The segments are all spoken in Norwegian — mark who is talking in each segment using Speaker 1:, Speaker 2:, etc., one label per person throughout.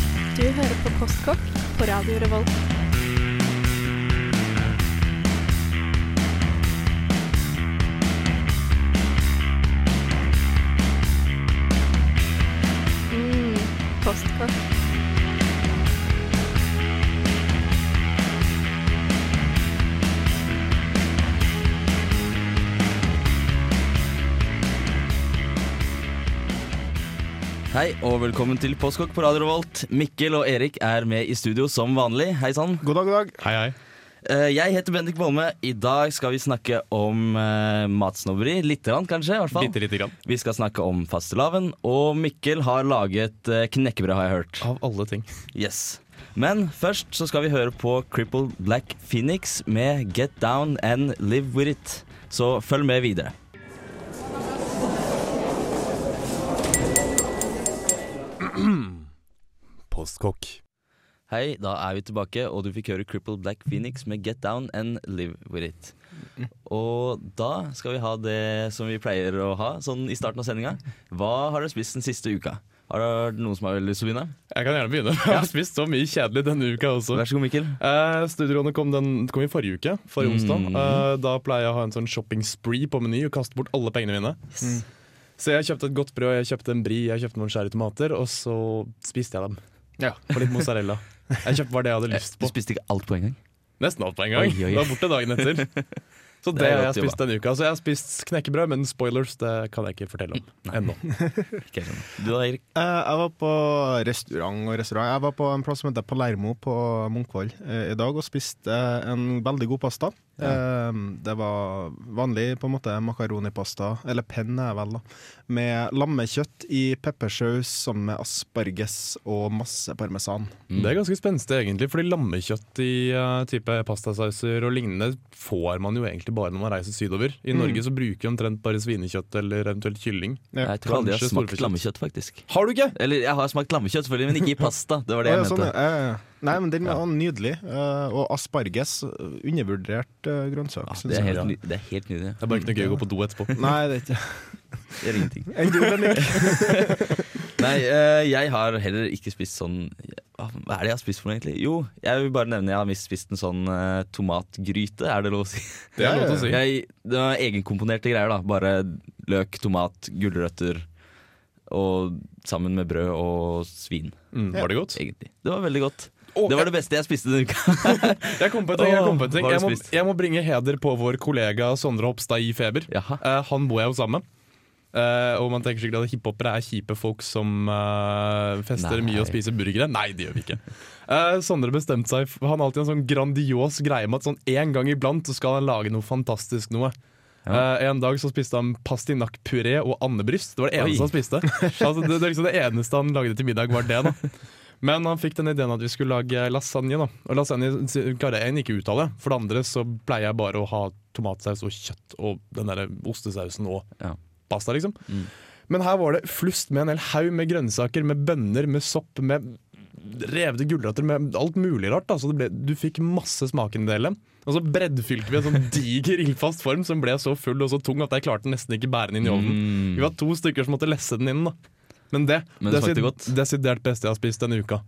Speaker 1: hører på Postkokk på Radio Revolt. Mm, postkokk.
Speaker 2: Hei og velkommen til Postkokk på Radio Revolt. Mikkel og Erik er med i studio som vanlig. Hei sann.
Speaker 3: God dag, god dag.
Speaker 4: Hei, hei.
Speaker 2: Eh, Jeg heter Bendik Bolme. I dag skal vi snakke om eh, matsnobberi. Lite grann, kanskje. i hvert fall
Speaker 4: Bitte lite grann.
Speaker 2: Vi skal snakke om fastelavn, og Mikkel har laget eh, knekkebrød, har jeg hørt.
Speaker 4: Av alle ting.
Speaker 2: Yes. Men først så skal vi høre på Crippled Black Phoenix med Get Down and Live With It. Så følg med videre.
Speaker 5: Postkokk.
Speaker 2: Hei, da er vi tilbake, og du fikk høre Crippled Black Phoenix med Get Down and Live With It. Og da skal vi ha det som vi pleier å ha sånn i starten av sendinga. Hva har dere spist den siste uka? Har det vært noen som har lyst til å begynne?
Speaker 4: Jeg kan gjerne begynne. Jeg har spist så mye kjedelig denne uka også.
Speaker 2: Vær så god, Mikkel.
Speaker 4: Eh, Studierådene kom, den- kom i forrige uke, forrige onsdag.
Speaker 2: Mm.
Speaker 4: Eh, da pleier jeg å ha en sånn shopping spree på Meny og kaste bort alle pengene mine. Mm.
Speaker 2: Yes.
Speaker 4: Så jeg kjøpte et godt brød, jeg kjøpte en brie, jeg kjøpte noen skjære tomater, og så spiste jeg dem.
Speaker 3: Ja.
Speaker 4: Og litt mozzarella. Jeg kjøpte bare det jeg hadde lyst
Speaker 2: Eh, Du
Speaker 4: på.
Speaker 2: spiste ikke alt på en gang?
Speaker 4: Nesten alt på en gang.
Speaker 2: Oi, oi.
Speaker 4: Det var borte dagen etter. Så det,
Speaker 2: Det er
Speaker 4: har
Speaker 2: godt
Speaker 4: jeg spist
Speaker 2: jobba.
Speaker 4: denne uka. Så jeg har spist knekkebrød, men spoilers det kan jeg ikke fortelle om ennå.
Speaker 2: Ikke jeg skjønner. Du da, Erik?
Speaker 3: Eh, Jeg var på restaurant og restaurant. Jeg var på en plass som heter Palermo på Munkvoll eh, i dag og spiste eh, en veldig god pasta. Eh, Det var vanlig på en måte makaronipasta, eller penne er vel, da. Med lammekjøtt i peppersaus sammen med asparges og masse parmesan.
Speaker 4: Det er ganske spenstig egentlig, fordi lammekjøtt i eh, type pastasauser og lignende får man jo egentlig bare når man reiser sydover. I Norge så bruker vi omtrent bare svinekjøtt eller eventuelt kylling.
Speaker 3: Ja.
Speaker 2: Jeg tror aldri jeg har
Speaker 4: kanskje
Speaker 2: smakt
Speaker 4: storfekjøtt.
Speaker 2: lammekjøtt, faktisk.
Speaker 4: Har du ikke?
Speaker 2: Eller jeg har smakt lammekjøtt, selvfølgelig, men ikke i pasta. Det var det
Speaker 3: Å, ja,
Speaker 2: jeg
Speaker 3: sånn,
Speaker 2: mente.
Speaker 3: ja, ja, ja. Nei, men Den var nydelig. eh, Og asparges, undervurdert eh, grønnsak.
Speaker 2: Ah,
Speaker 3: synes
Speaker 2: Det er
Speaker 3: jeg.
Speaker 2: helt, ny- det er helt nydelig.
Speaker 4: Det er bare ikke noe gøy å gå på do etterpå.
Speaker 3: Nei, det er ikke
Speaker 2: Det er ingenting.
Speaker 3: Enn du, Bendik?
Speaker 2: Nei, eh, jeg har heller ikke spist sånn Hva hva er det jeg har spist for noe, egentlig? Jo, jeg vil bare nevne jeg har mist- spist en sånn eh, tomatgryte, er det lov å si?
Speaker 4: Det er lov til å si.
Speaker 2: Jeg, det var egenkomponerte greier, da. Bare løk, tomat, gulrøtter. Og sammen med brød og svin,
Speaker 4: Mm, var det godt?
Speaker 2: egentlig. Det var veldig godt.
Speaker 4: Å,
Speaker 2: Det var det beste jeg spiste denne uka.
Speaker 4: jeg, jeg kom på en ting. Jeg, kom på en ting.
Speaker 2: Hva har
Speaker 4: Jeg,
Speaker 2: du
Speaker 4: må,
Speaker 2: spist?
Speaker 4: jeg må bringe heder på vår kollega Sondre Hopstad i Feber.
Speaker 2: Jaha.
Speaker 4: Eh, han bor jeg jo sammen med. Eh, og man tenker sikkert at hiphopere er kjipe folk som eh, fester
Speaker 2: Nei.
Speaker 4: mye og spiser burgere. Nei, det gjør vi ikke. Eh, Sondre bestemte seg for- Han har alltid en sånn grandios greie med at sånn en gang iblant så skal han lage noe fantastisk noe. Eh, en dag så spiste han pastinakkpuré og andebryst. Det var det
Speaker 2: Oi.
Speaker 4: eneste han spiste. Altså, det, det, er liksom det eneste han lagde til middag, var det. da Men han fikk den ideen at vi skulle lage lasagne. da Og lasagne s- klarer jeg en ikke uttale. For det andre så pleier jeg bare å ha tomatsaus og kjøtt og den der ostesausen og
Speaker 2: Ja.
Speaker 4: pasta, liksom.
Speaker 2: Mm.
Speaker 4: Men her var det flust med en hel haug med grønnsaker, med bønner, med sopp, med revde gulrøtter, med alt mulig rart. Da. Så det ble, du fikk masse smakendeler. Og så breddfylte vi en sånn diger ildfast form som ble så full og så tung at jeg klarte nesten ikke bære
Speaker 2: Mm.
Speaker 4: den inn i ovnen. Vi var to stykker som måtte lesse den inn. da men det,
Speaker 2: Men det smakte
Speaker 4: desi-
Speaker 2: godt. Mm.
Speaker 4: desidert beste jeg har spist denne uka.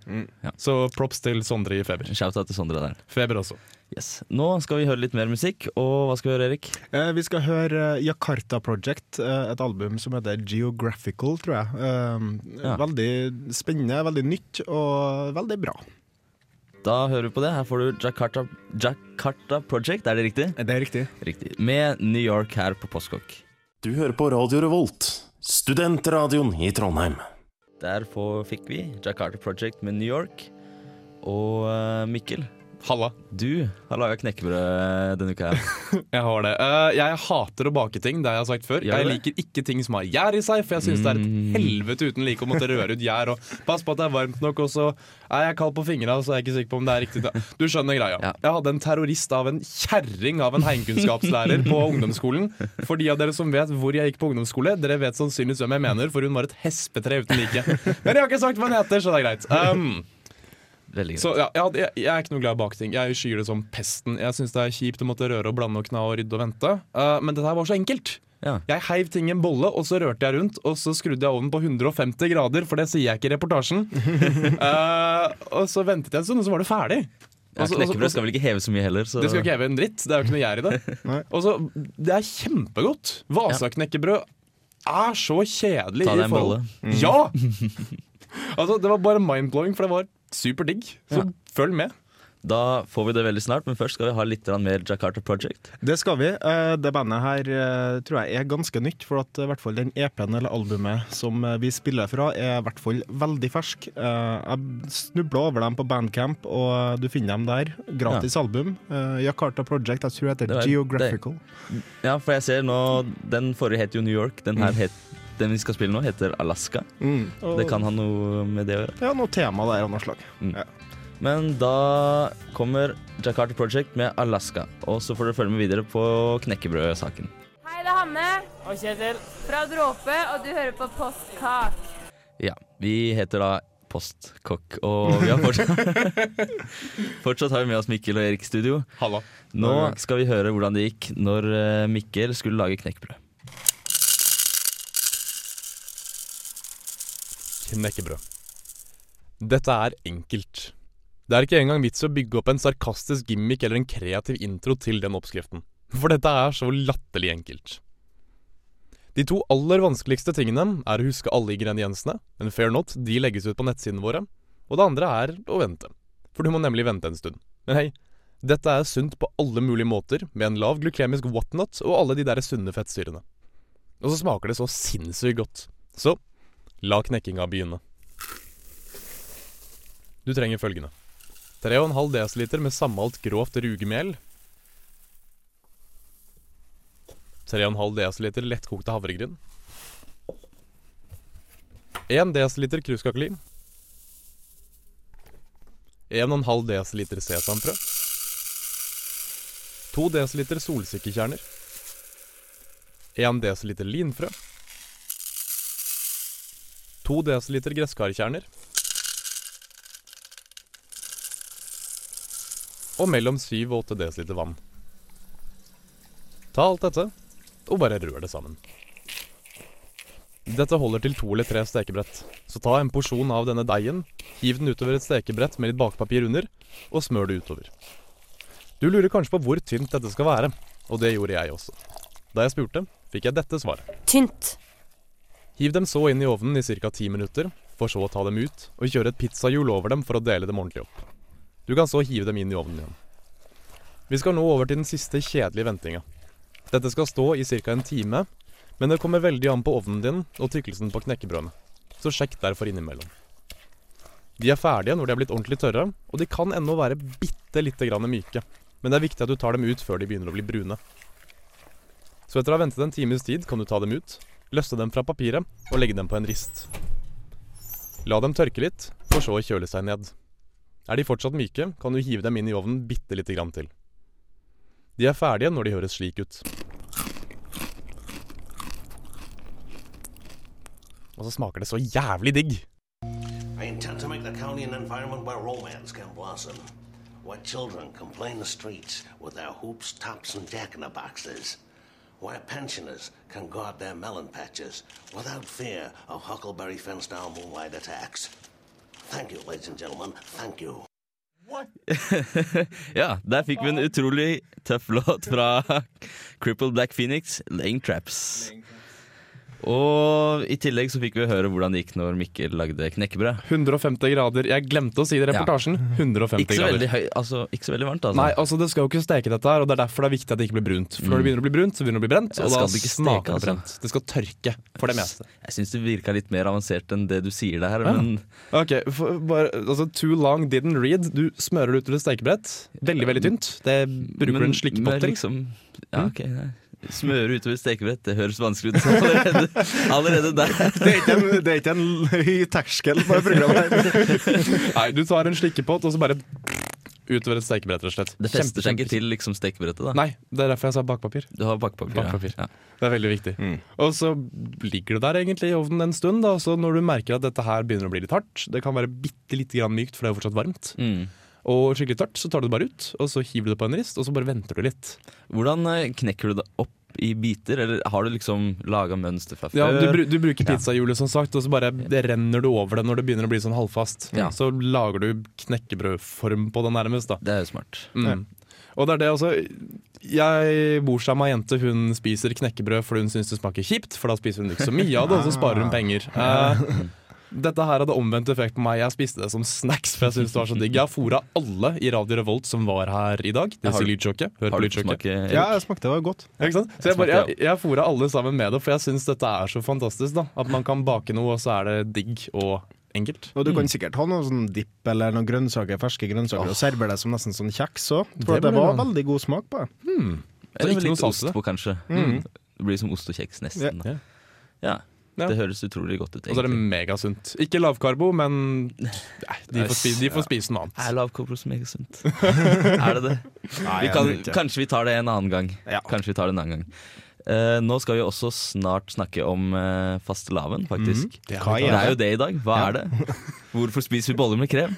Speaker 2: Ja.
Speaker 4: Så props til Sondre i Feber.
Speaker 2: Shout-out til Sondre der.
Speaker 4: Feber også.
Speaker 2: Yes. Nå skal vi høre litt mer musikk, og hva skal vi høre, Erik?
Speaker 3: Eh, Vi skal høre eh, Jakarta Project, eh, et album som heter Geographical, tror jeg. Eh,
Speaker 2: Ja.
Speaker 3: Veldig spennende, veldig nytt og veldig bra.
Speaker 2: Da hører vi på det. Her får du Jakarta, Jakarta Project, er det riktig?
Speaker 3: Det er riktig.
Speaker 2: Riktig. Med New York her på Postkokk.
Speaker 5: Du hører på Radio Revolt, studentradioen i Trondheim.
Speaker 2: Der få- fikk vi Jakarta Project med New York. Og eh, Mikkel,
Speaker 4: Halla.
Speaker 2: du har laga knekkebrød denne uka. her.
Speaker 4: Jeg har det. Eh, jeg hater å bake ting, det har jeg sagt før.
Speaker 2: Gjør
Speaker 4: jeg
Speaker 2: du Mm.
Speaker 4: liker ikke ting som har gjær i seg, for jeg syns det er et helvete uten like å måtte røre ut gjær. Og pass på at det er varmt nok, og så er jeg kald på fingra, så er jeg ikke sikker på om det er riktig. da. Du skjønner greia.
Speaker 2: Ja.
Speaker 4: Jeg hadde en terrorist av en kjerring av en heimkunnskapslærer på ungdomsskolen. For de av dere som vet hvor jeg gikk på ungdomsskole, dere vet sannsynligvis hvem jeg mener, for hun var et hespetre uten like. Men jeg har ikke sagt hva hun heter, så det er greit. Um,
Speaker 2: Veldig
Speaker 4: Så
Speaker 2: greit.
Speaker 4: ja, jeg, hadde- jeg, jeg er ikke noe glad i baketing. Jeg skyer det som pesten. Jeg syns det er kjipt å måtte røre og blande og kna og rydde og vente. Eh, men dette her var så enkelt.
Speaker 2: Ja.
Speaker 4: Jeg heiv ting i en bolle, og så rørte jeg rundt, og så skrudde jeg ovnen på 150 grader, for det sier jeg ikke i reportasjen. Eh, og så ventet jeg en stund, og så var det ferdig.
Speaker 2: Ja,
Speaker 4: Og så- og så-
Speaker 2: Knekkebrød skal vel ikke heve så mye heller. Så.
Speaker 4: altså, det skal ikke heve en dritt. Det er jo ikke noe gjær i det.
Speaker 3: Nei.
Speaker 4: Og så, Det er kjempegodt. Vasaknekkebrød er så kjedelig.
Speaker 2: Ta deg
Speaker 4: i
Speaker 2: en Mm.
Speaker 4: forhold- Ja! altså, det var bare mind-blowing, for det var superdigg. Så følg med.
Speaker 2: Da får vi det veldig snart, men først skal vi ha litt grann mer Jakarta Project.
Speaker 3: Det skal vi. Eh, Det bandet her eh, tror jeg er ganske nytt, for at eh, i hvert fall den EP-en eller albumet som eh, vi spiller fra, er i hvert fall veldig fersk. Eh, Jeg snubla over dem på Bandcamp, og eh, du finner dem der. Gratis album. Eh, Jakarta Project, jeg tror det
Speaker 2: Det var-
Speaker 3: heter Geographical.
Speaker 2: Ja, for jeg ser nå Den forrige het jo New York. Den her het den vi skal spille nå, heter Alaska.
Speaker 3: Mm. Og,
Speaker 2: Det kan ha noe med det å gjøre.
Speaker 3: Ja, noe tema der av noe slag.
Speaker 2: Men da kommer Jakarta Project med Alaska. Og så får dere følge med videre på knekkebrødsaken.
Speaker 6: Hei, det er Hanne
Speaker 7: Og Kjetil.
Speaker 6: fra Dråpe, og du hører på Postkak.
Speaker 2: Ja, vi heter da Postkokk, og vi har fortsatt Fortsatt har vi med oss Mikkel og Erik i studio.
Speaker 4: Halla.
Speaker 2: Nå skal vi høre hvordan det gikk når eh, Mikkel skulle lage knekkebrød.
Speaker 4: Knekkebrød. Dette er enkelt. Det er ikke engang vits i å bygge opp en sarkastisk gimmick eller en kreativ intro til den oppskriften. For dette er så latterlig enkelt. De to aller vanskeligste tingene er å huske alle ingrediensene, men fair not, de legges ut på nettsidene våre. Og det andre er å vente. For du må nemlig vente en stund. Men hei, dette er sunt på alle mulige måter, med en lav glykemisk whatnot og alle de der sunne fettsyrene. Og så smaker det så sinnssykt godt. Så La knekkinga begynne. Du trenger følgende 3,5 dl med sammalt grovt rugemel. 3,5 dl lettkokte havregryn. 1 dl kruskakeli. 1,5 dl sesamfrø. 2 dl solsikkekjerner. 1 dl linfrø. 2 dl gresskarkjerner. Og mellom 7 og 8 dl vann. Ta alt dette og bare rør det sammen. Dette holder til to eller tre stekebrett, så ta en porsjon av denne deigen, hiv den utover et stekebrett med litt bakpapir under, og smør det utover. Du lurer kanskje på hvor tynt dette skal være, og det gjorde jeg også. Da jeg spurte, fikk jeg dette svaret.
Speaker 7: Tynt.
Speaker 4: Hiv dem så inn i ovnen i ca. 10 minutter, for så å ta dem ut og kjøre et pizzahjul over dem for å dele dem ordentlig opp. Du kan så hive dem inn i ovnen igjen. Vi skal nå over til den siste kjedelige ventinga. Dette skal stå i ca. en time, men det kommer veldig an på ovnen din og tykkelsen på knekkebrødene, så sjekk derfor innimellom. De er ferdige når de er blitt ordentlig tørre, og de kan ennå være bitte lite grann myke, men det er viktig at du tar dem ut før de begynner å bli brune. Så etter å ha ventet en times tid kan du ta dem ut, løsne dem fra papiret og legge dem på en rist. La dem tørke litt, for så å kjøle seg ned. Er de fortsatt myke, kan du hive dem inn i ovnen bitte lite grann til. De er ferdige når de høres slik ut. Og så smaker det så jævlig digg!
Speaker 8: I intend to make the county an environment where romance can blossom, where children can play in the streets with their hoops, tops, and jack in the boxes, where pensioners can guard their melon patches without fear of huckleberry fence down moonlight attacks. Thank you, ladies and gentlemen. Thank you.
Speaker 2: Ja, der fikk vi en utrolig tøff låt fra Crippled Black Phoenix, 'Laying Traps'. Og i tillegg så fikk vi høre hvordan det gikk når Mikkel lagde knekkebrød.
Speaker 4: 150 grader. Jeg glemte å si det i
Speaker 2: Ja.
Speaker 4: reportasjen. 150
Speaker 2: Ikke så
Speaker 4: grader.
Speaker 2: veldig, høy, altså, ikke så veldig varmt, altså. Mm.
Speaker 4: Nei, altså det skal jo ikke steke dette her, og det er derfor det er viktig at det ikke blir brunt. For når det begynner å bli brunt, så begynner det å bli brent,
Speaker 2: Ja,
Speaker 4: og da
Speaker 2: skal det ikke steke,
Speaker 4: smaker det
Speaker 2: altså.
Speaker 4: brent. Det skal tørke, for det meste.
Speaker 2: Jeg syns det virka litt mer avansert enn det du sier det her,
Speaker 4: Ja.
Speaker 2: men
Speaker 4: Ok, for, bare, altså Too long didn't read. Du smører det ut til et stekebrett. Veldig, veldig tynt. Det bruker du
Speaker 2: men-
Speaker 4: en
Speaker 2: men
Speaker 4: slikkepott til.
Speaker 2: Liksom, ja, ok, nei. Smøre utover et stekebrett, det høres vanskelig ut. Så Allerede, allerede der.
Speaker 3: Det er ikke en, det er ikke en høy terskel på det programmet her.
Speaker 4: Nei, du tar en slikkepott og så bare utover et stekebrett, rett og slett.
Speaker 2: Det fester seg
Speaker 4: Kjempe,
Speaker 2: ikke til liksom stekebrettet, da.
Speaker 4: Nei, det er derfor jeg sa bakpapir.
Speaker 2: Du har bakpapir. ja.
Speaker 4: Bakpapir.
Speaker 2: Ja.
Speaker 4: Det er veldig viktig.
Speaker 2: Mm.
Speaker 4: Og så ligger det der egentlig i ovnen en stund, da, så når du merker at dette her begynner å bli litt hardt, det kan være bitte lite grann mykt, for det er jo fortsatt varmt,
Speaker 2: Mm.
Speaker 4: og skikkelig tørt, så tar du det bare ut, og så hiver du det på en rist, og så bare venter du litt.
Speaker 2: Hvordan eh, knekker du det opp i biter, eller har du liksom laga mønster fra før?
Speaker 4: Ja, du, bru- du
Speaker 2: Eh,
Speaker 4: bruker pizzahjulet, som sagt, og så bare det renner du over det når det begynner å bli sånn halvfast.
Speaker 2: Ja.
Speaker 4: Så lager du knekkebrødform på det nærmest, da.
Speaker 2: Det er jo smart.
Speaker 4: Mm. Og det er det også Jeg bor sammen med ei jente. Hun spiser knekkebrød fordi hun syns det smaker kjipt, for da spiser hun ikke så mye av det, og så sparer hun penger. Eh, dette her hadde omvendt effekt på meg. Jeg spiste det som snacks, for jeg syntes det var så digg. Jeg har fôra alle i Radio Revolt som var her i dag. Det
Speaker 2: Har
Speaker 4: vil si
Speaker 2: du-
Speaker 4: lydsjokket.
Speaker 2: Har
Speaker 4: Hør på
Speaker 2: du fått
Speaker 4: lydsjokket.
Speaker 2: smake Erik?
Speaker 3: Ja, jeg smakte det var godt.
Speaker 4: Ja, ikke sant? Så jeg, bare,
Speaker 2: smakte,
Speaker 4: jeg, jeg fôra alle sammen med det, for jeg syns dette er så fantastisk. da At man kan bake noe, og så er det digg og enkelt.
Speaker 3: Og du kan sikkert ha noe sånn dipp eller noen grønnsaker, ferske grønnsaker, og servere det som nesten sånn kjeks òg. For
Speaker 4: Det
Speaker 3: det, det
Speaker 4: burde
Speaker 3: var
Speaker 4: man.
Speaker 3: veldig god smak på det.
Speaker 4: Så
Speaker 2: Eller
Speaker 4: ikke
Speaker 2: med litt
Speaker 4: noe salse.
Speaker 2: ost på, kanskje. Det blir som ost og kjeks, nesten.
Speaker 4: Ja.
Speaker 2: da. Ja.
Speaker 4: Ja.
Speaker 2: Det høres utrolig godt ut.
Speaker 4: Og så er det
Speaker 2: egentlig.
Speaker 4: megasunt. Ikke lavkarbo, men nei, de får spise, de får spise noe
Speaker 2: Er
Speaker 4: annet.
Speaker 2: lavkobber som er sunt? er det det? Vi kan, kanskje vi tar det en annen gang.
Speaker 3: Ja.
Speaker 2: Kanskje vi tar det en annen gang. Eh, nå skal vi også snart snakke om eh, fastelavn, faktisk.
Speaker 4: Mhm.
Speaker 3: Hva
Speaker 2: Det er
Speaker 3: er
Speaker 2: jo
Speaker 3: det?
Speaker 2: det i dag. Hva er det? Hvorfor spiser vi boller med krem?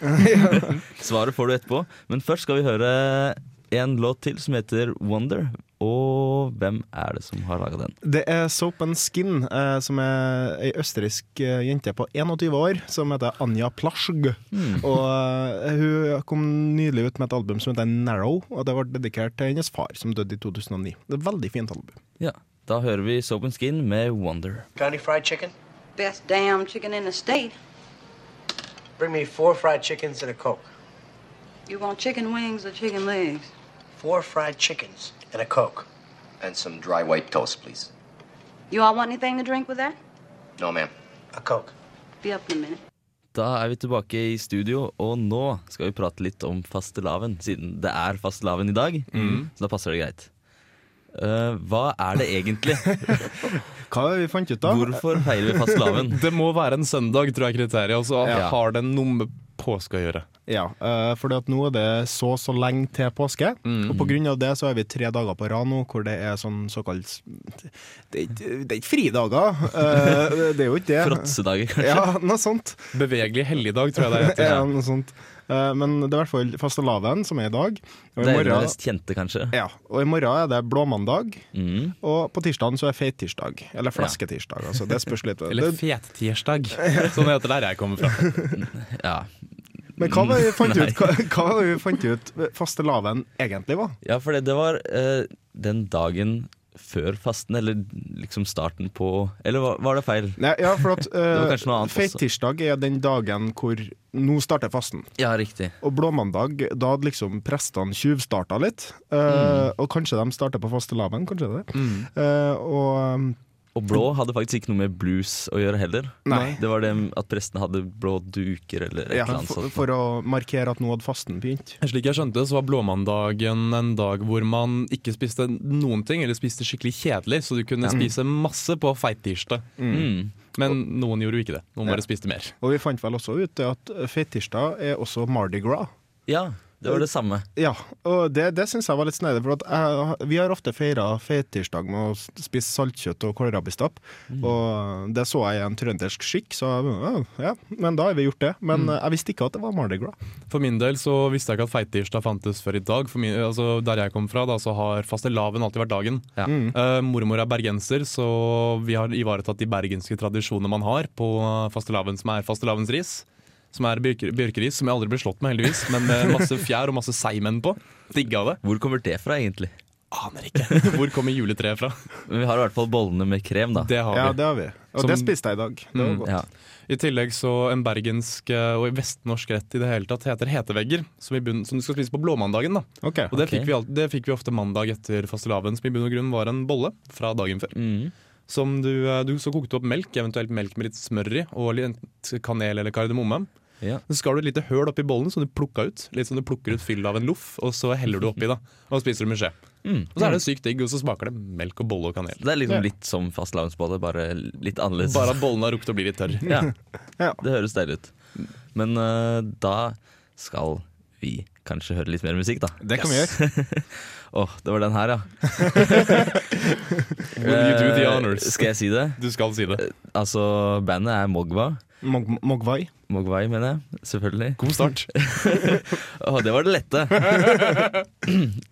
Speaker 2: Svaret får du etterpå. Men først skal vi høre en låt til som heter Wonder. Og hvem er det som har laga den?
Speaker 3: Det er Soap and Skin, eh, som er ei østerriksk eh, jente på 21 år som heter Anja Plasjg. Og eh, hun kom nylig ut med et album som heter Narrow, og det var dedikert til hennes far, som døde i 2009. Det er et veldig fint album.
Speaker 2: Ja, Da hører vi Soap and Skin med Wonder.
Speaker 7: Got any fried chicken?
Speaker 9: Best damn chicken in the state.
Speaker 7: Bring me four fried chickens and a Coke.
Speaker 9: You want chicken wings or chicken legs?
Speaker 7: Four fried chickens and a Coke.
Speaker 10: And some dry white toast, please.
Speaker 9: You all want anything to drink with that?
Speaker 10: No, ma'am.
Speaker 7: A Coke.
Speaker 9: Be up in a minute.
Speaker 2: Da er vi tilbake i studio, og nå skal vi prate litt om fastelavn, siden det er fastelavn i dag.
Speaker 4: Mm.
Speaker 2: Så da passer det greit. Eh, hva er det egentlig?
Speaker 3: Hva har vi fant ut da?
Speaker 2: Hvorfor feirer vi fastelavn?
Speaker 4: Det må være en søndag, tror jeg kriteriet. Og så
Speaker 2: Ja.
Speaker 4: har det noe med påske å gjøre.
Speaker 3: Ja, eh, fordi at nå er det så så lenge til påske.
Speaker 2: Mm.
Speaker 3: Og på grunn av det så har vi tre dager på rad nå hvor det er sånn såkalt Det er ikke, det er ikke fridager, eh, det- det er jo ikke det.
Speaker 2: Fråtsedager, kanskje?
Speaker 3: Ja, noe sånt.
Speaker 4: Bevegelig helligdag, tror jeg det heter.
Speaker 3: Ja, noe sånt. Eh, Men det er i hvert fall fastelavn, som er i dag. Og
Speaker 2: Det
Speaker 3: i
Speaker 2: er jo det
Speaker 3: morgen,
Speaker 2: mest kjente, kanskje.
Speaker 3: ja, og i morgen er det blåmandag.
Speaker 2: Mm.
Speaker 3: Og på tirsdagen så er fettirsdag. Eller flesketirsdag, altså. Det spørs litt.
Speaker 4: Eller
Speaker 3: Det,
Speaker 4: fettirsdag, som det heter der jeg kommer fra.
Speaker 2: Ja.
Speaker 3: men hva var det vi fant ut, hva, hva var det vi fant ut fastelavn egentlig var?
Speaker 2: ja, for det, det var eh, den dagen før fasten, eller liksom starten på Eller var, var det feil?
Speaker 3: Nei, ja, for at
Speaker 2: var
Speaker 3: uh,
Speaker 2: kanskje noe annet også.
Speaker 3: Feittirsdag er den dagen hvor nå starter fasten.
Speaker 2: Ja, riktig.
Speaker 3: Og blåmandag, da hadde liksom prestene tjuvstarta litt.
Speaker 2: Mm.
Speaker 3: eh, Og kanskje de starter på fastelavn, kanskje det. Eh, og um,
Speaker 2: Og blå hadde faktisk ikke noe med blues å gjøre heller.
Speaker 3: Nei.
Speaker 2: Det var det at prestene hadde blå duker eller et
Speaker 3: ja,
Speaker 2: eller annet
Speaker 3: for,
Speaker 2: sånt.
Speaker 3: for å markere at nå hadde fasten begynt.
Speaker 4: Slik jeg skjønte, så var blåmandagen en dag hvor man ikke spiste noen ting, eller spiste skikkelig kjedelig, så du kunne spise masse på feittirsdag. Men noen gjorde jo ikke det. Noen bare spiste mer.
Speaker 3: Og vi fant vel også ut det at feittirsdag er også Mardi Gras.
Speaker 2: Ja, det var det samme.
Speaker 3: Ja, og det, det syns jeg var litt snedig. For at jeg, vi har ofte feira feittirsdag med å spise saltkjøtt og kålrabistapp.
Speaker 4: Mm.
Speaker 3: Og det så jeg i en trøndersk skikk, så jeg, ja, men da har vi gjort det. Men
Speaker 4: Mm.
Speaker 3: eh, jeg visste ikke at det var Mardi Gras.
Speaker 4: For min del så visste jeg ikke at feittirsdag fantes før i dag. For min, altså der jeg kom fra, da, så har fastelavn alltid vært dagen.
Speaker 2: Ja.
Speaker 4: Eh, mormor er bergenser, så vi har ivaretatt de bergenske tradisjonene man har på fastelavn, som er fastelavnsris. Som er bjørke- bjørkeris, som jeg aldri ble slått med, heldigvis. Men med masse fjær og masse seigmenn på. Digga det.
Speaker 2: Hvor kommer det fra, egentlig?
Speaker 4: Aner ikke. Hvor kommer juletreet fra?
Speaker 2: Men vi har i hvert fall bollene med krem, da.
Speaker 4: Det har vi.
Speaker 3: Ja, det har vi. Og
Speaker 4: Som- Mm,
Speaker 3: det spiste jeg i dag. Det var godt.
Speaker 2: Ja.
Speaker 4: I tillegg så en bergensk eh, og vestnorsk rett i det hele tatt heter hetevegger, som, i bunn, som du skal spise på blåmandagen. da.
Speaker 3: Ok.
Speaker 4: Og det,
Speaker 2: Ok.
Speaker 4: fikk vi, alt- det fikk vi ofte mandag etter fastelavn, som i bunn og grunn var en bolle fra dagen før.
Speaker 2: Mm.
Speaker 4: Som du, eh, du så kokte du opp melk, eventuelt melk med litt smør i, og litt kanel eller kardemomme.
Speaker 2: Ja.
Speaker 4: Så skar du et lite høl oppi bollen som du plukka ut. Litt som du plukker ut fyll av en loff, og så heller du oppi, da. Og spiser du med skje. Og så er det sykt digg, og så smaker det melk og bolle og kanel.
Speaker 2: Det er liksom litt som fastelavnsbolle, bare litt annerledes.
Speaker 4: Bare at bollen har rukket å bli litt tørr.
Speaker 2: Ja.
Speaker 3: Ja.
Speaker 2: Det høres deilig ut. Men eh, da skal vi kanskje høre litt mer musikk, da.
Speaker 3: Det kan vi gjøre.
Speaker 2: Åh, det var den her, ja.
Speaker 4: Will you do the
Speaker 2: Eh,
Speaker 4: honors?
Speaker 2: Skal jeg si det?
Speaker 4: Du skal si det.
Speaker 2: Altså, bandet er Mogwa.
Speaker 3: Mog Mogwai.
Speaker 2: Mogwai, mener jeg. Selvfølgelig.
Speaker 4: God start.
Speaker 2: Åh, det var det lette.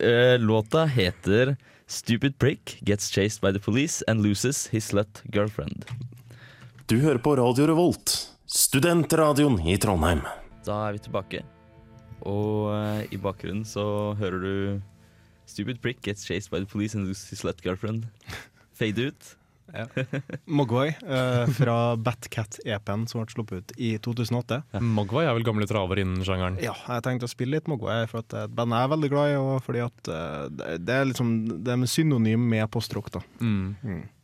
Speaker 2: Eh, Låta heter Stupid prick gets chased by the police and loses his slut girlfriend.
Speaker 5: Du hører på Radio Revolt, studentradioen i Trondheim.
Speaker 2: Da er vi tilbake. Og eh, i bakgrunnen så hører du Stupid prick gets chased by the police and loses his slut girlfriend. Fade ut.
Speaker 3: Mogwai eh, fra Batcat-EP-en som ble sluppet ut i 2008.
Speaker 4: Mogwai er vel gamle traver innen sjangeren.
Speaker 3: Ja, jeg tenkte å spille litt Mogwai, for at det er et band jeg er veldig glad i. Og fordi at eh, det- det er liksom Det er synonym med postrock, da.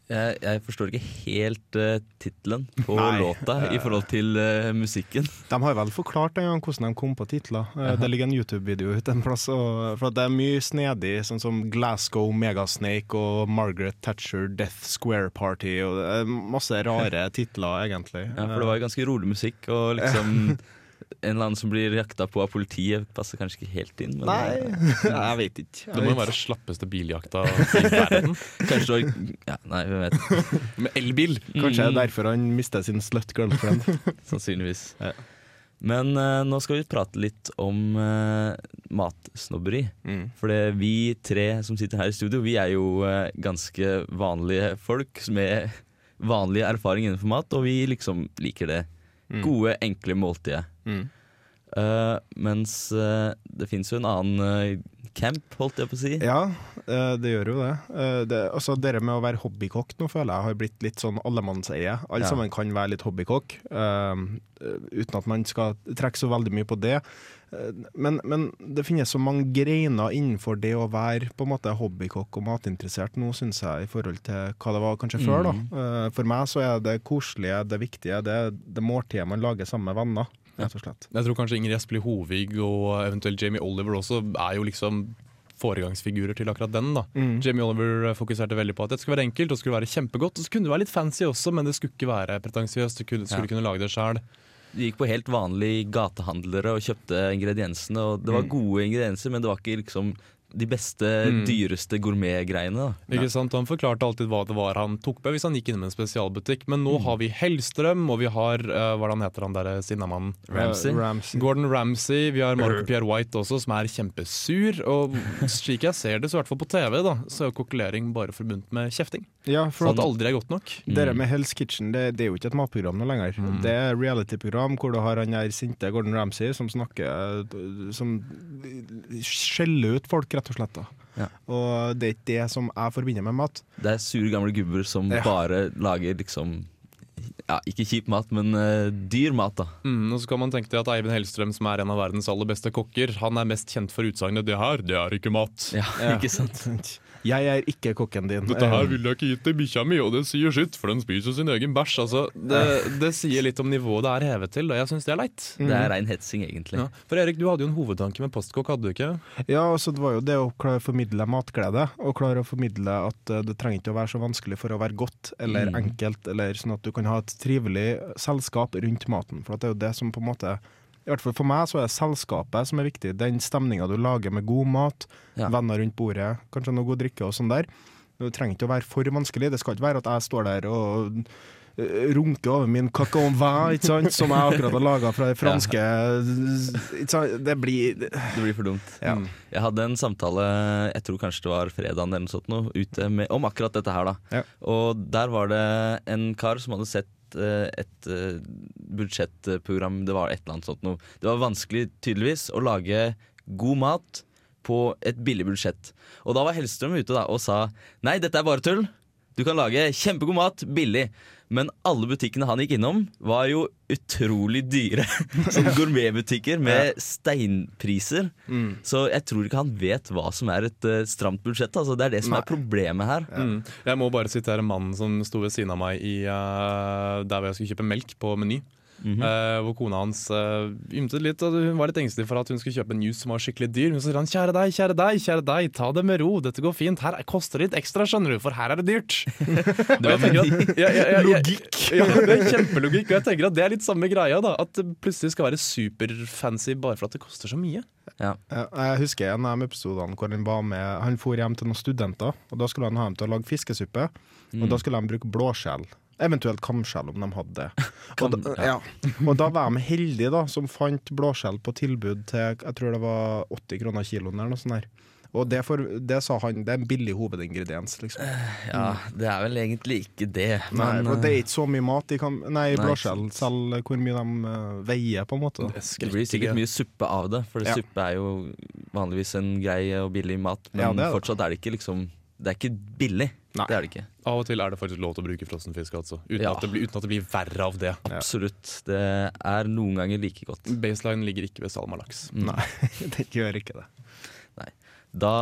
Speaker 2: Jeg, jeg forstår ikke helt uh, tittelen på
Speaker 3: Nei.
Speaker 2: låta i forhold til eh, musikken.
Speaker 3: De har vel forklart en gang hvordan de kom på titler. Eh, Det ligger en YouTube-video ute en plass. Og, for at det er mye snedig, sånn som Glasgow Megasnake og Margaret Thatcher Death Square Party. Og det er masse rare titler, egentlig.
Speaker 2: Ja, for det var jo ganske rolig musikk, og liksom en eller annen som blir jakta på av politiet, passer kanskje ikke helt inn. Men
Speaker 3: Nei, Eh, jeg vet ikke.
Speaker 4: Det må jo være slappeste biljakta i verden.
Speaker 2: Kanskje det var ja, Nei, hvem vet.
Speaker 4: Med elbil! Mm.
Speaker 3: Kanskje det er derfor han mistet sin slut girlfriend.
Speaker 2: Sannsynligvis.
Speaker 3: Ja.
Speaker 2: Men eh, nå skal vi prate litt om eh, matsnobberi. For det- vi tre som sitter her i studio, vi er jo eh, ganske vanlige folk med vanlig erfaring innenfor mat, og vi liksom liker det. Gode, enkle måltidet.
Speaker 3: Mm.
Speaker 2: Eh, mens eh, det fins jo en annen eh, camp, holdt jeg på å si.
Speaker 3: Ja, eh, det gjør jo det. Eh, det altså, dere med å være hobbykokk nå føler jeg har blitt litt sånn allemannseie. Alle
Speaker 2: Ja.
Speaker 3: sammen kan være litt hobbykokk, eh, eh, uten at man skal trekke så veldig mye på det. Eh, men, men det finnes så mange greiner innenfor det å være på en måte hobbykokk og matinteressert nå, syns jeg, i forhold til hva det var kanskje før. da. Eh, for meg så er det koselige, det viktige, det, det måltidet man lager sammen med venner, rett og slett.
Speaker 4: Jeg tror kanskje Ingrid Espelid Hovig og eventuelt Jamie Oliver også er jo liksom foregangsfigurer til akkurat den. da. Jamie Oliver eh, fokuserte veldig på at det skulle være enkelt og skulle være kjempegodt. Og så kunne det være litt fancy også, men det skulle ikke være pretensiøst. Du kunne, skulle
Speaker 2: Ja.
Speaker 4: kunne lage det sjøl.
Speaker 2: Vi gikk på helt vanlige gatehandlere og kjøpte ingrediensene. Og det var gode ingredienser, men det var ikke liksom de beste, dyreste gourmetgreiene. da.
Speaker 4: Ikke sant? Han forklarte alltid hva det var han tok med hvis han gikk innom en spesialbutikk. Men nå har vi Hellstrøm, og vi har eh, hva er det han heter han der sinnamannen?
Speaker 2: Ramsay.
Speaker 3: Eh, Ramsay.
Speaker 4: Gordon Ramsay, vi har Marco Pierre White også, som er kjempesur. Og slik jeg ser det, så i hvert fall på TV, da, så er jo kokkelering bare forbundt med kjefting.
Speaker 3: Ja, for
Speaker 4: For
Speaker 3: at-
Speaker 4: at det aldri er godt nok.
Speaker 2: Mm.
Speaker 3: Dere med Hell's Kitchen det, det er jo ikke et matprogram nå lenger. Det er reality-program hvor du har han der sinte Gordon Ramsay som snakker Som skjeller ut folk, rett og slett. Da.
Speaker 2: Ja.
Speaker 3: Og det er ikke det som jeg forbinder med mat.
Speaker 2: Det er sure gamle gubber som
Speaker 3: Ja.
Speaker 2: bare lager liksom ja, Ikke kjip mat, men eh, dyr mat, da.
Speaker 4: Mm, og så kan man tenke til at Eivind Hellstrøm, som er en av verdens aller beste kokker, han er mest kjent for utsagnet 'det her, det er ikke mat'.
Speaker 2: Ja, ikke sant?
Speaker 3: Jeg er ikke kokken din. Eh,
Speaker 4: Dette her ville jeg ikke gitt til bikkja mi, og det sier sitt, for den spiser sin egen bæsj. Altså, det, det sier litt om nivået det er hevet til, og jeg syns det er leit.
Speaker 2: Det er rein hetsing, egentlig.
Speaker 4: Ja. For Erik, du hadde jo en hovedtanke med postkokk, hadde du ikke?
Speaker 3: Ja, altså Det var jo det å klare å formidle matglede, og klare å formidle at eh, det trenger ikke å være så vanskelig for å være godt eller enkelt, eller sånn at du kan ha et trivelig selskap rundt maten. For at det er jo det som på en måte I hvert fall for meg så er det selskapet som er viktig. Den stemninga du lager med god mat,
Speaker 2: Ja.
Speaker 3: venner rundt bordet, kanskje noe god drikke og sånn der. Det trenger ikke å være for vanskelig. Det skal ikke være at jeg står der og eh, runker over min cacao vin, ikke sant, som jeg akkurat har laga fra det franske ikke sant? Det blir
Speaker 2: Det blir for dumt.
Speaker 3: Ja.
Speaker 2: Mm. Jeg hadde en samtale, jeg tror kanskje det var fredagen eller noe sånt, nå, ute med, om akkurat dette her. da.
Speaker 3: Ja.
Speaker 2: Og der var det en kar som hadde sett eh, et eh, budsjettprogram, det var et eller annet sånt noe. Det var vanskelig, tydeligvis, å lage god mat på et billig budsjett. Og da var Hellstrøm ute da og sa nei, dette er bare tull. Du kan lage kjempegod mat billig. Men alle butikkene han gikk innom, var jo utrolig dyre. Sånn gourmetbutikker med steinpriser.
Speaker 4: Mm.
Speaker 2: Så jeg tror ikke han vet hva som er et eh, stramt budsjett. Altså. Det er det som er problemet her.
Speaker 4: Mm. Jeg må bare sitere mannen som sto ved siden av meg i, eh, der hvor jeg skulle kjøpe melk på Meny. Eh, hvor kona hans eh, ymtet litt, og hun var litt engstelig for at hun skulle kjøpe en juice som var skikkelig dyr. Hun sa sånn, kjære deg, kjære deg, kjære deg, ta det med ro, dette går fint. Her koster det litt ekstra, skjønner du, for her er det dyrt. Og jeg tenker at- ja, ja, ja, ja. Ja, det er kjempelogikk. Og jeg tenker at det er litt samme greia, da. At det plutselig skal være superfancy bare for at det koster så mye.
Speaker 2: Ja.
Speaker 3: Ja, Eh, Jeg husker en av de episodene hvor han var med Han for hjem til noen studenter, og da skulle han ha dem til å lage fiskesuppe. Og da skulle de bruke blåskjell, eventuelt kamskjell om de hadde det. Og da, ja. og da var de heldige da, som fant blåskjell på tilbud til jeg tror det var 80 kroner kiloen eller noe sånt. der. Og det, for, det sa han, det er en billig hovedingrediens, liksom.
Speaker 2: Ja, det er vel egentlig ikke det,
Speaker 3: Nei,
Speaker 2: men eh,
Speaker 3: for det er ikke så mye mat de kan Nei,
Speaker 2: Nei,
Speaker 3: blåskjell selger hvor mye de eh, veier, på en måte. da.
Speaker 2: det blir sikkert mye suppe av det, for
Speaker 3: Ja.
Speaker 2: suppe er jo vanligvis en grei og billig mat, men
Speaker 3: Ja, det er det.
Speaker 2: fortsatt er det ikke liksom Det er ikke billig.
Speaker 3: Nei.
Speaker 2: Det er det ikke.
Speaker 4: Av og til er det faktisk lov til å bruke frossen fisk, altså. Uten,
Speaker 2: Ja.
Speaker 4: at det blir, uten at det blir verre av det.
Speaker 2: Absolutt. Det er noen ganger like godt.
Speaker 4: Baseline ligger ikke ved salmalaks.
Speaker 3: Nei, det gjør ikke det.
Speaker 2: Da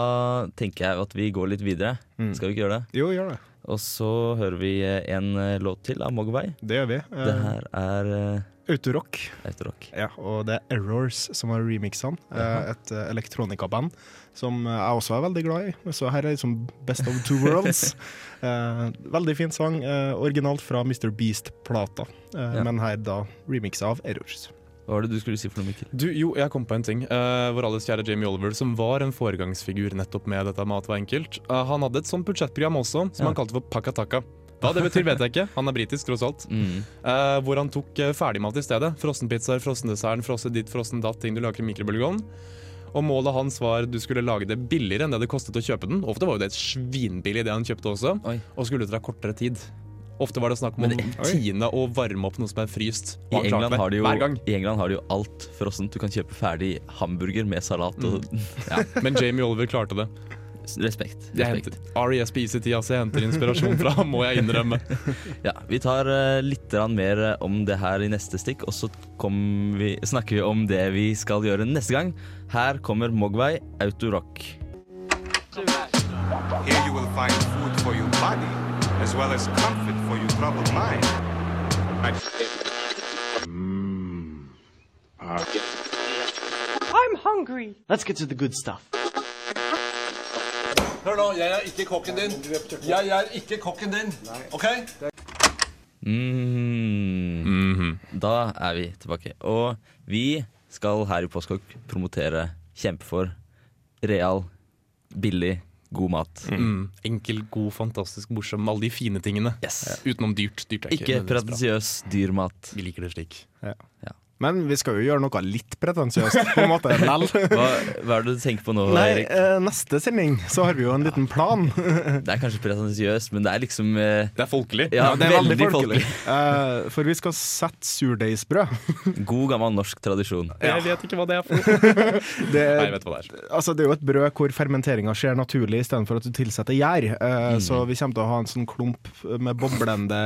Speaker 2: tenker jeg at vi går litt videre.
Speaker 3: Mm.
Speaker 2: Skal vi ikke gjøre det?
Speaker 3: Jo, gjør det.
Speaker 2: Og så hører vi eh, en eh, låt til av Mogwai.
Speaker 3: Det gjør vi. Eh,
Speaker 2: Det her er eh,
Speaker 3: Autorock.
Speaker 2: autorock.
Speaker 3: Ja, og det er Errors som har remixa den. eh, Et eh, elektronikaband som eh, jeg også er veldig glad i. Så her er liksom Best of Two Worlds. Eh, Veldig fin sang. eh, Originalt fra Mr. Beast-plata, eh,
Speaker 2: Ja.
Speaker 3: men her da remixa av Errors.
Speaker 2: Hva var det du skulle si for noe, Mikkel?
Speaker 4: Du, jo, jeg kom på en ting. Eh, vår alles kjære Jamie Oliver, som var en foregangsfigur nettopp med dette Mat var enkelt, eh, han hadde et sånt budsjettprogram også, som
Speaker 2: Ja.
Speaker 4: han kalte for Pakataka. Hva det betyr, vet jeg ikke. Han er britisk, tross alt.
Speaker 2: Mm.
Speaker 4: Eh, hvor han tok eh, ferdigmat i stedet. Frossenpizzaer, frosendesserten, frosset ditt, frossen datt, ting du lager i mikrobølgeovn. Og målet hans var du skulle lage det billigere enn det det kostet å kjøpe den. Ofte var jo det et svinbillig det han kjøpte også,
Speaker 2: Oi.
Speaker 4: og skulle ut fra kortere tid. Ofte var det snakk om
Speaker 2: Men
Speaker 4: å tine og varme opp noe som er fryst.
Speaker 2: I
Speaker 4: Og han klarte
Speaker 2: England,
Speaker 4: det
Speaker 2: har de jo,
Speaker 4: hver gang.
Speaker 2: I England har de jo alt frossent. Du kan kjøpe ferdig hamburger med salat og
Speaker 4: Mm.
Speaker 2: ja,
Speaker 4: Men Jamie Oliver klarte det.
Speaker 2: Respekt.
Speaker 4: Jeg
Speaker 2: respekt.
Speaker 4: henter, RESPCT, altså. Jeg henter inspirasjon fra ham, må jeg innrømme.
Speaker 2: Ja, vi tar eh, litt grann mer eh, om det her i neste stikk, og så kom vi, snakker vi om det vi skal gjøre neste gang. Her kommer Mogwai Autorock.
Speaker 11: Here you will find food for your body, as well as comfort for your troubled mind.
Speaker 12: I'm hungry. Let's get to the good stuff.
Speaker 13: Hør nå, jeg er ikke kokken din. Jeg er ikke kokken din. OK?
Speaker 2: Mm.
Speaker 4: Mm-hmm.
Speaker 2: Da er vi tilbake. Og vi skal her i Postkokk promotere, kjempe for real, billig, god mat.
Speaker 4: Mm. Enkel, god, fantastisk morsom. Alle de fine tingene.
Speaker 2: Yes.
Speaker 4: Utenom dyrt. dyrt er
Speaker 2: Ikke
Speaker 4: nødvendigvis bra.
Speaker 2: pretensiøs dyrmat.
Speaker 4: Vi liker det slik.
Speaker 3: Ja.
Speaker 2: Ja.
Speaker 3: Men vi skal jo gjøre noe litt pretensiøst, på en måte. Lell.
Speaker 2: Hva, hva er det du tenker på nå,
Speaker 3: Nei,
Speaker 2: Erik?
Speaker 3: eh, neste sending så har vi jo en liten plan.
Speaker 2: Det er kanskje pretensiøst, men det er liksom eh,
Speaker 4: Det er folkelig.
Speaker 2: ja,
Speaker 3: det er
Speaker 2: veldig, folkelig.
Speaker 3: Eh, for vi skal sette surdeigsbrød.
Speaker 2: God gammel norsk tradisjon.
Speaker 4: Jeg vet ikke hva det er for
Speaker 3: Det,
Speaker 4: Nei, jeg vet hva det er.
Speaker 3: altså, det er jo et brød hvor fermenteringa skjer naturlig istedenfor at du tilsetter gjær.
Speaker 2: Mm.
Speaker 3: Eh, Så vi kommer til å ha en sånn klump med boblende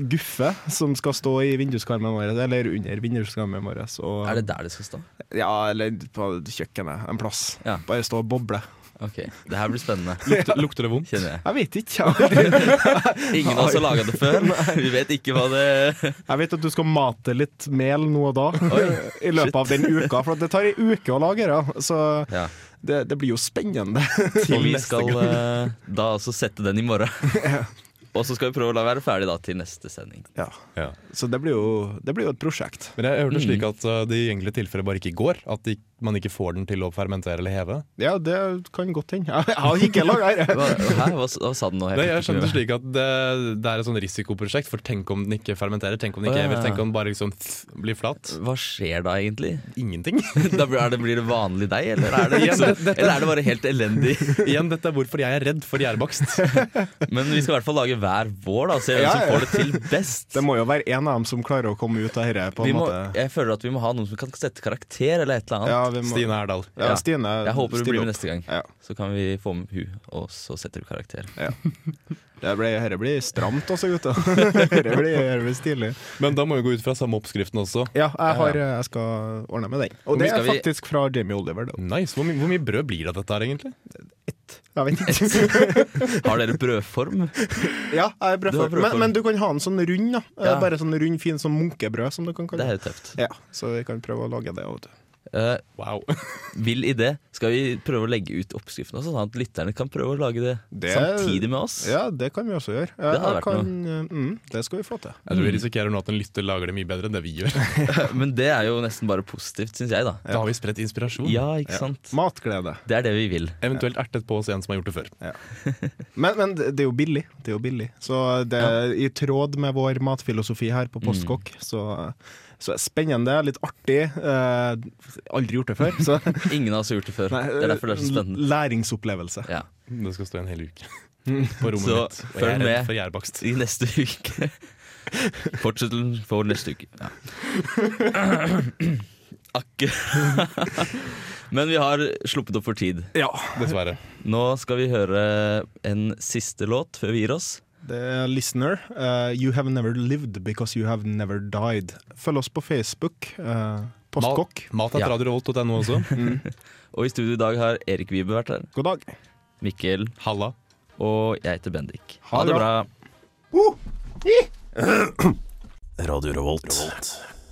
Speaker 3: guffe som skal stå i vinduskarmen vår, eller under vinduskarmen vår. Og,
Speaker 2: Er det der det skal stå?
Speaker 3: Ja, eller på kjøkkenet en plass.
Speaker 2: Ja.
Speaker 3: Bare stå og boble.
Speaker 2: Ok, Det her blir spennende,
Speaker 4: Lukter, lukter det vondt?
Speaker 2: kjenner jeg.
Speaker 3: Jeg vet ikke. Jeg vet,
Speaker 2: Ingen av oss har laga det før. Vi vet ikke hva det
Speaker 3: jeg vet at du skal mate litt mel nå og da i løpet av den uka, for det tar ei uke å lage det. Så
Speaker 2: Ja.
Speaker 3: det, det blir jo spennende.
Speaker 2: Og vi skal eh, da altså sette den i morgen. Og så skal vi prøve å la være ferdig da til neste sending.
Speaker 3: Ja.
Speaker 4: Ja.
Speaker 3: Så det blir, jo, det blir jo et prosjekt.
Speaker 4: Men jeg hørte slik at uh, det i enkelte tilfeller bare ikke går. At de, man ikke får den til å fermentere eller heve.
Speaker 3: Ja, det kan godt hende. Jeg jeg har ikke laga
Speaker 2: Hva,
Speaker 3: det.
Speaker 2: hæ? Hva, s- hva sa du nå?
Speaker 4: Nei, jeg skjønte slik at det, det er et sånn risikoprosjekt, for tenk om den ikke fermenterer, tenk om den
Speaker 2: Å,
Speaker 4: ikke
Speaker 2: ja.
Speaker 4: hever, tenk om den bare liksom tss, blir flat.
Speaker 2: Hva skjer da egentlig?
Speaker 4: Ingenting.
Speaker 2: Da blir er det, blir det vanlig deg, eller er det, liksom,
Speaker 4: Ja, det- dette-
Speaker 2: eller er det bare helt elendig?
Speaker 4: Igjen, dette er hvorfor jeg er redd for gjærbakst.
Speaker 2: Men vi skal i hvert fall lage hver vår, da, og se hvem
Speaker 3: Ja,
Speaker 2: som
Speaker 3: ja.
Speaker 2: får det til best.
Speaker 3: Det må jo være en av dem som klarer å komme ut av dette, på
Speaker 2: Vi
Speaker 3: en
Speaker 2: må,
Speaker 3: måte.
Speaker 2: jeg føler at vi må ha noen som kan sette karakter, eller et eller annet.
Speaker 3: Ja, vi må,
Speaker 4: Stine Herdal.
Speaker 3: Ja,
Speaker 2: Ja.
Speaker 3: Stine.
Speaker 2: Jeg håper du
Speaker 3: stille
Speaker 2: blir med
Speaker 3: opp.
Speaker 2: neste gang.
Speaker 3: Ja.
Speaker 2: Så kan vi få med hun, og så setter du karakter.
Speaker 3: Det ble, dette blir stramt også, gutter. Dette blir, dette blir stilig.
Speaker 4: Men da må vi gå ut fra samme oppskriften også.
Speaker 3: Ja, jeg, har, jeg skal ordne med den.
Speaker 2: Hvor
Speaker 3: Og det
Speaker 2: mye skal
Speaker 3: er
Speaker 2: vi-
Speaker 3: faktisk fra Jamie Oliver. Da.
Speaker 4: Nice. Hvor, my hvor mye brød blir det av dette her, egentlig?
Speaker 3: Jeg vet ikke.
Speaker 2: Har dere brødform?
Speaker 3: Ja, jeg er
Speaker 2: Du har
Speaker 3: brødform.
Speaker 2: brødform.
Speaker 3: Men, men du kan ha en sånn rund, da. Eh,
Speaker 2: Ja.
Speaker 3: Bare sånn rund, fin sånn munkebrød som du kan
Speaker 2: Det
Speaker 3: kalle
Speaker 2: er
Speaker 3: det.
Speaker 2: jo tøft.
Speaker 3: Ja, så vi kan prøve å lage det. Vet du.
Speaker 2: Eh,
Speaker 4: Wow.
Speaker 2: vill idé. Skal vi prøve å legge ut oppskriften også, sånn at lytterne kan prøve å lage det,
Speaker 3: Det-
Speaker 2: samtidig med oss?
Speaker 3: Ja, det kan vi også gjøre. Jeg,
Speaker 2: Det hadde vært
Speaker 3: jeg kan, mm, det skal vi få til.
Speaker 4: Jeg tror vi risikerer nå at en lytter lager det mye bedre enn det vi gjør.
Speaker 2: Men det er jo nesten bare positivt, syns jeg, da.
Speaker 4: Da har vi spredt inspirasjon.
Speaker 2: Ja, ikke sant?
Speaker 3: Matglede.
Speaker 2: Det er det vi vil.
Speaker 4: Eventuelt ertet på oss en som har gjort det før.
Speaker 3: Men, men det det er jo billig. Det
Speaker 2: Mm.
Speaker 3: er jo billig. Så det er i tråd med vår matfilosofi her på Postkokk, så Så spennende, litt artig. eh, aldri gjort det før. Så.
Speaker 2: Ingen av oss har gjort det før.
Speaker 3: Nei,
Speaker 2: det er derfor det er så spennende.
Speaker 3: Læringsopplevelse.
Speaker 2: Ja.
Speaker 4: Det skal stå en hel uke på rommet
Speaker 2: Mm. Så
Speaker 4: mitt. Og jeg
Speaker 2: følg
Speaker 4: er redd
Speaker 2: med
Speaker 4: for gjærbakst.
Speaker 2: i neste uke. Fortsettelsen for neste uke. Ja. Akkurat. Men vi har sluppet opp for tid.
Speaker 3: Ja,
Speaker 4: dessverre.
Speaker 2: Nå skal vi høre en siste låt før vi gir oss.
Speaker 3: Det er Listener. eh, you have never lived because you have never died. Følg oss på Facebook. eh, Postkokk.
Speaker 4: Mat er radiorevolt.no også.
Speaker 2: Og i studio i dag har Erik Vibe vært her.
Speaker 3: God dag.
Speaker 2: Mikkel.
Speaker 4: Halla.
Speaker 2: Og jeg heter Bendik.
Speaker 5: Ha
Speaker 2: Ha
Speaker 5: det
Speaker 2: det
Speaker 5: bra.
Speaker 2: bra.
Speaker 5: Radio Revolt.